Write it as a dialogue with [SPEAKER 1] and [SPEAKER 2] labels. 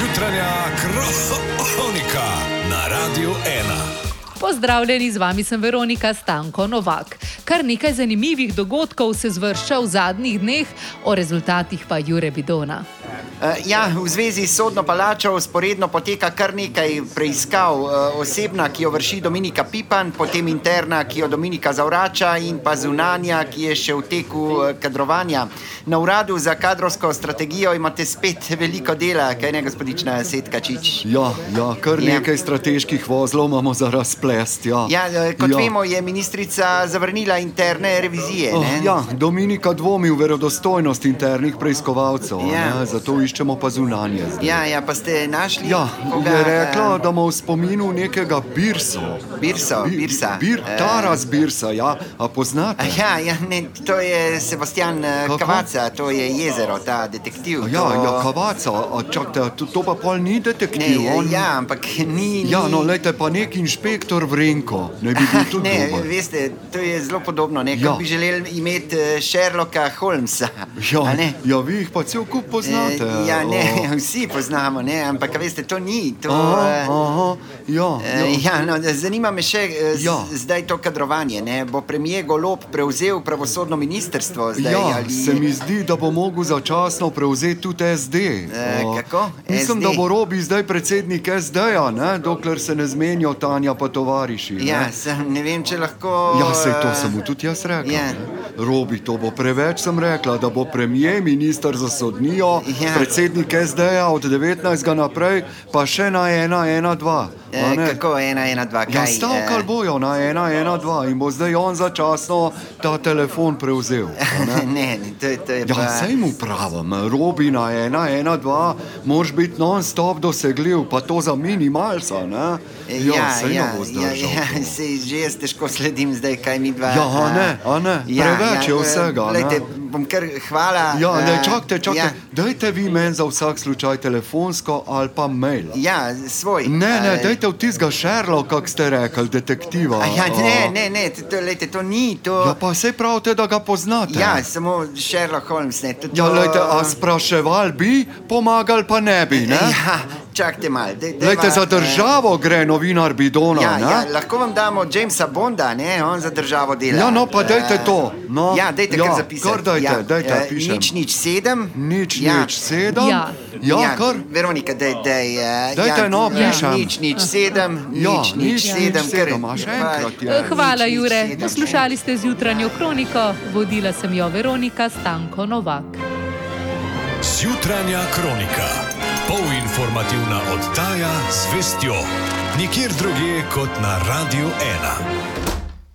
[SPEAKER 1] jutranja kronika na Radiu 1.
[SPEAKER 2] Pozdravljeni, z vami sem Veronika Stanko Novak. Kar nekaj zanimivih dogodkov se zvršča v zadnjih dneh, o rezultatih pa Jure Bidona.
[SPEAKER 3] Eh, Ja, v zvezi s sodno palačo sporedno poteka kar nekaj preiskav. Eh, Osebna, ki jo vrši Dominika Pipan, potem interna, ki jo Dominika zavrača, in pa zunanja, ki je še v teku eh, kadrovanja. Na uradu za kadrovsko strategijo imate spet veliko dela, kaj ne, gospodična Setkačič.
[SPEAKER 4] Ja, ja, kar
[SPEAKER 3] Ja.
[SPEAKER 4] nekaj strateških vozlov imamo za razplest. Ja,
[SPEAKER 3] Ja, eh, kot ja. vemo, je ministrica zavrnila interne revizije.
[SPEAKER 4] Oh,
[SPEAKER 3] ne?
[SPEAKER 4] ja, Dominika dvomi v verodostojnost internih preiskovalcev, a
[SPEAKER 3] Ja.
[SPEAKER 4] ne, zato iščemo pa zunanje. zdaj.
[SPEAKER 3] ja, ja, pa ste našli.
[SPEAKER 4] Ja,
[SPEAKER 3] koga,
[SPEAKER 4] je rekla,
[SPEAKER 3] eh,
[SPEAKER 4] da ima v spominu nekega Birsa.
[SPEAKER 3] Birso, Birsa.
[SPEAKER 4] Bir,
[SPEAKER 3] Eh.
[SPEAKER 4] Taras Birsa, ja, a poznate?
[SPEAKER 3] Ja, ja, ne, to je Sebastian eh,
[SPEAKER 4] Kako?
[SPEAKER 3] Kavaca, to je jezero, ta detektiv.
[SPEAKER 4] Ja,
[SPEAKER 3] to...
[SPEAKER 4] ja, kavaca, a čakajte, a to, to pa pol ni
[SPEAKER 3] Ne,
[SPEAKER 4] detektiv. on...
[SPEAKER 3] ja, ampak ni.
[SPEAKER 4] ja,
[SPEAKER 3] ni-
[SPEAKER 4] no, lejte pa nek inšpektor Vrenko, ne bi bil tudi
[SPEAKER 3] Ne,
[SPEAKER 4] dober.
[SPEAKER 3] veste, to je zelo podobno. Ne,
[SPEAKER 4] Ja.
[SPEAKER 3] ja. Bi želeli imeti eh, Sherlocka Holmesa. a
[SPEAKER 4] Ja,
[SPEAKER 3] ne?
[SPEAKER 4] ja, vi jih pa cel kup poznate.
[SPEAKER 3] Eh, ja,
[SPEAKER 4] o.
[SPEAKER 3] ne, vsi poznamo, ne, ampak a veste, to ni. To, eh,
[SPEAKER 4] Aha, aha, ja,
[SPEAKER 3] Eh,
[SPEAKER 4] ja.
[SPEAKER 3] Ja, no, zanima me še eh, z-
[SPEAKER 4] Ja.
[SPEAKER 3] zdaj to kadrovanje. Ne? Bo premijer Golob prevzel pravosodno ministrstvo? Zdaj,
[SPEAKER 4] Ja,
[SPEAKER 3] ali...
[SPEAKER 4] se mi zdi, da bo mogel začasno prevzeti tudi SD. O,
[SPEAKER 3] E, kako?
[SPEAKER 4] Mislim,
[SPEAKER 3] SD?
[SPEAKER 4] da bo robi zdaj predsednik SD-ja, ne, dokler se ne zmenijo Tanja pa tovariši. ne.
[SPEAKER 3] Ja, sem, ne vem, če lahko.
[SPEAKER 4] Ja, sej to
[SPEAKER 3] eh,
[SPEAKER 4] sem mu tudi jaz rekel.
[SPEAKER 3] Ja.
[SPEAKER 4] Robi, to bo preveč, sem rekla, da bo premijer, minister za sodnijo,
[SPEAKER 3] Ja.
[SPEAKER 4] predsednik SD-ja od 19. naprej, pa še na 1-1-2.
[SPEAKER 3] Eh, kako ena, ena, dva,
[SPEAKER 4] Ja,
[SPEAKER 3] kaj? eh,
[SPEAKER 4] stavkal bojo na 1-1-2 in bo zdaj on začasno ta telefon prevzel. a ne.
[SPEAKER 3] ne, ne, to, je- to je
[SPEAKER 4] Ja,
[SPEAKER 3] pa...
[SPEAKER 4] sej mu pravim, robi na 1-1-2, moraš biti non-stop dosegljiv, pa to za minimalca. Ne?
[SPEAKER 3] Eh,
[SPEAKER 4] Ja, sej ne bo
[SPEAKER 3] ja,
[SPEAKER 4] zdržal.
[SPEAKER 3] ja,
[SPEAKER 4] to.
[SPEAKER 3] sej že jaz težko sledim zdaj, kaj mi dva.
[SPEAKER 4] Ja, a ne, a ne, preveč je
[SPEAKER 3] eh,
[SPEAKER 4] vsega, ne.
[SPEAKER 3] Glejte, bom kar hvala.
[SPEAKER 4] Ja, ne,
[SPEAKER 3] eh,
[SPEAKER 4] čakajte, čakajte. Dajte vi meni za vsak slučaj telefonsko ali pa mail.
[SPEAKER 3] Ja, ja, svoj.
[SPEAKER 4] Ne, ne,
[SPEAKER 3] eh,
[SPEAKER 4] dajte v tistega Šerloka, kako ste rekli, detektiva.
[SPEAKER 3] a Ja, ne,
[SPEAKER 4] a.
[SPEAKER 3] ne, ne, to, to, lejte, to ni
[SPEAKER 4] Ja,
[SPEAKER 3] to.
[SPEAKER 4] pa sej pravite, da ga poznate.
[SPEAKER 3] Ja, samo Sherlock Holmes, ne. To,
[SPEAKER 4] Ja,
[SPEAKER 3] to-
[SPEAKER 4] lejte, a spraševal bi, pomagal pa ne bi, ne?
[SPEAKER 3] Ja, čakajte malo. daj- dajva,
[SPEAKER 4] Lejte, za
[SPEAKER 3] eh,
[SPEAKER 4] državo gre novinar Bidona,
[SPEAKER 3] Ja,
[SPEAKER 4] ne?
[SPEAKER 3] ja, lahko vam damo Jamesa Bonda, ne? on za državo dela.
[SPEAKER 4] Ja, no, pa dajte
[SPEAKER 3] Eh,
[SPEAKER 4] to, no.
[SPEAKER 3] ja, dajte ja,
[SPEAKER 4] Ja,
[SPEAKER 3] kar zapisati.
[SPEAKER 4] kar dajte,
[SPEAKER 3] ja.
[SPEAKER 4] dajte,
[SPEAKER 3] eh,
[SPEAKER 4] pišem.
[SPEAKER 3] Nič, nič sedem.
[SPEAKER 4] Nič,
[SPEAKER 3] ja.
[SPEAKER 4] nič, sedem.
[SPEAKER 2] Ja.
[SPEAKER 4] ja kar.
[SPEAKER 3] Veronika, daj, daj, eh,
[SPEAKER 4] Dajte,
[SPEAKER 3] ja,
[SPEAKER 4] no,
[SPEAKER 3] ja,
[SPEAKER 4] pišem.
[SPEAKER 3] Nič, nič sedem,
[SPEAKER 4] Ja,
[SPEAKER 3] nič, nič,
[SPEAKER 4] nič,
[SPEAKER 3] sedem.
[SPEAKER 4] nič
[SPEAKER 3] kar-
[SPEAKER 4] sedem, a še
[SPEAKER 3] pa-
[SPEAKER 4] enkrat je.
[SPEAKER 2] Eh, Hvala,
[SPEAKER 3] Ja, nič, nič,
[SPEAKER 2] Jure.
[SPEAKER 3] sedem,
[SPEAKER 2] Poslušali ste zjutranjo kroniko, vodila sem jo Veronika Stanko Novak.
[SPEAKER 1] Zjutranja kronika. Polinformativna oddaja z vestjo. Nikjer drugje kot na Radiu 1.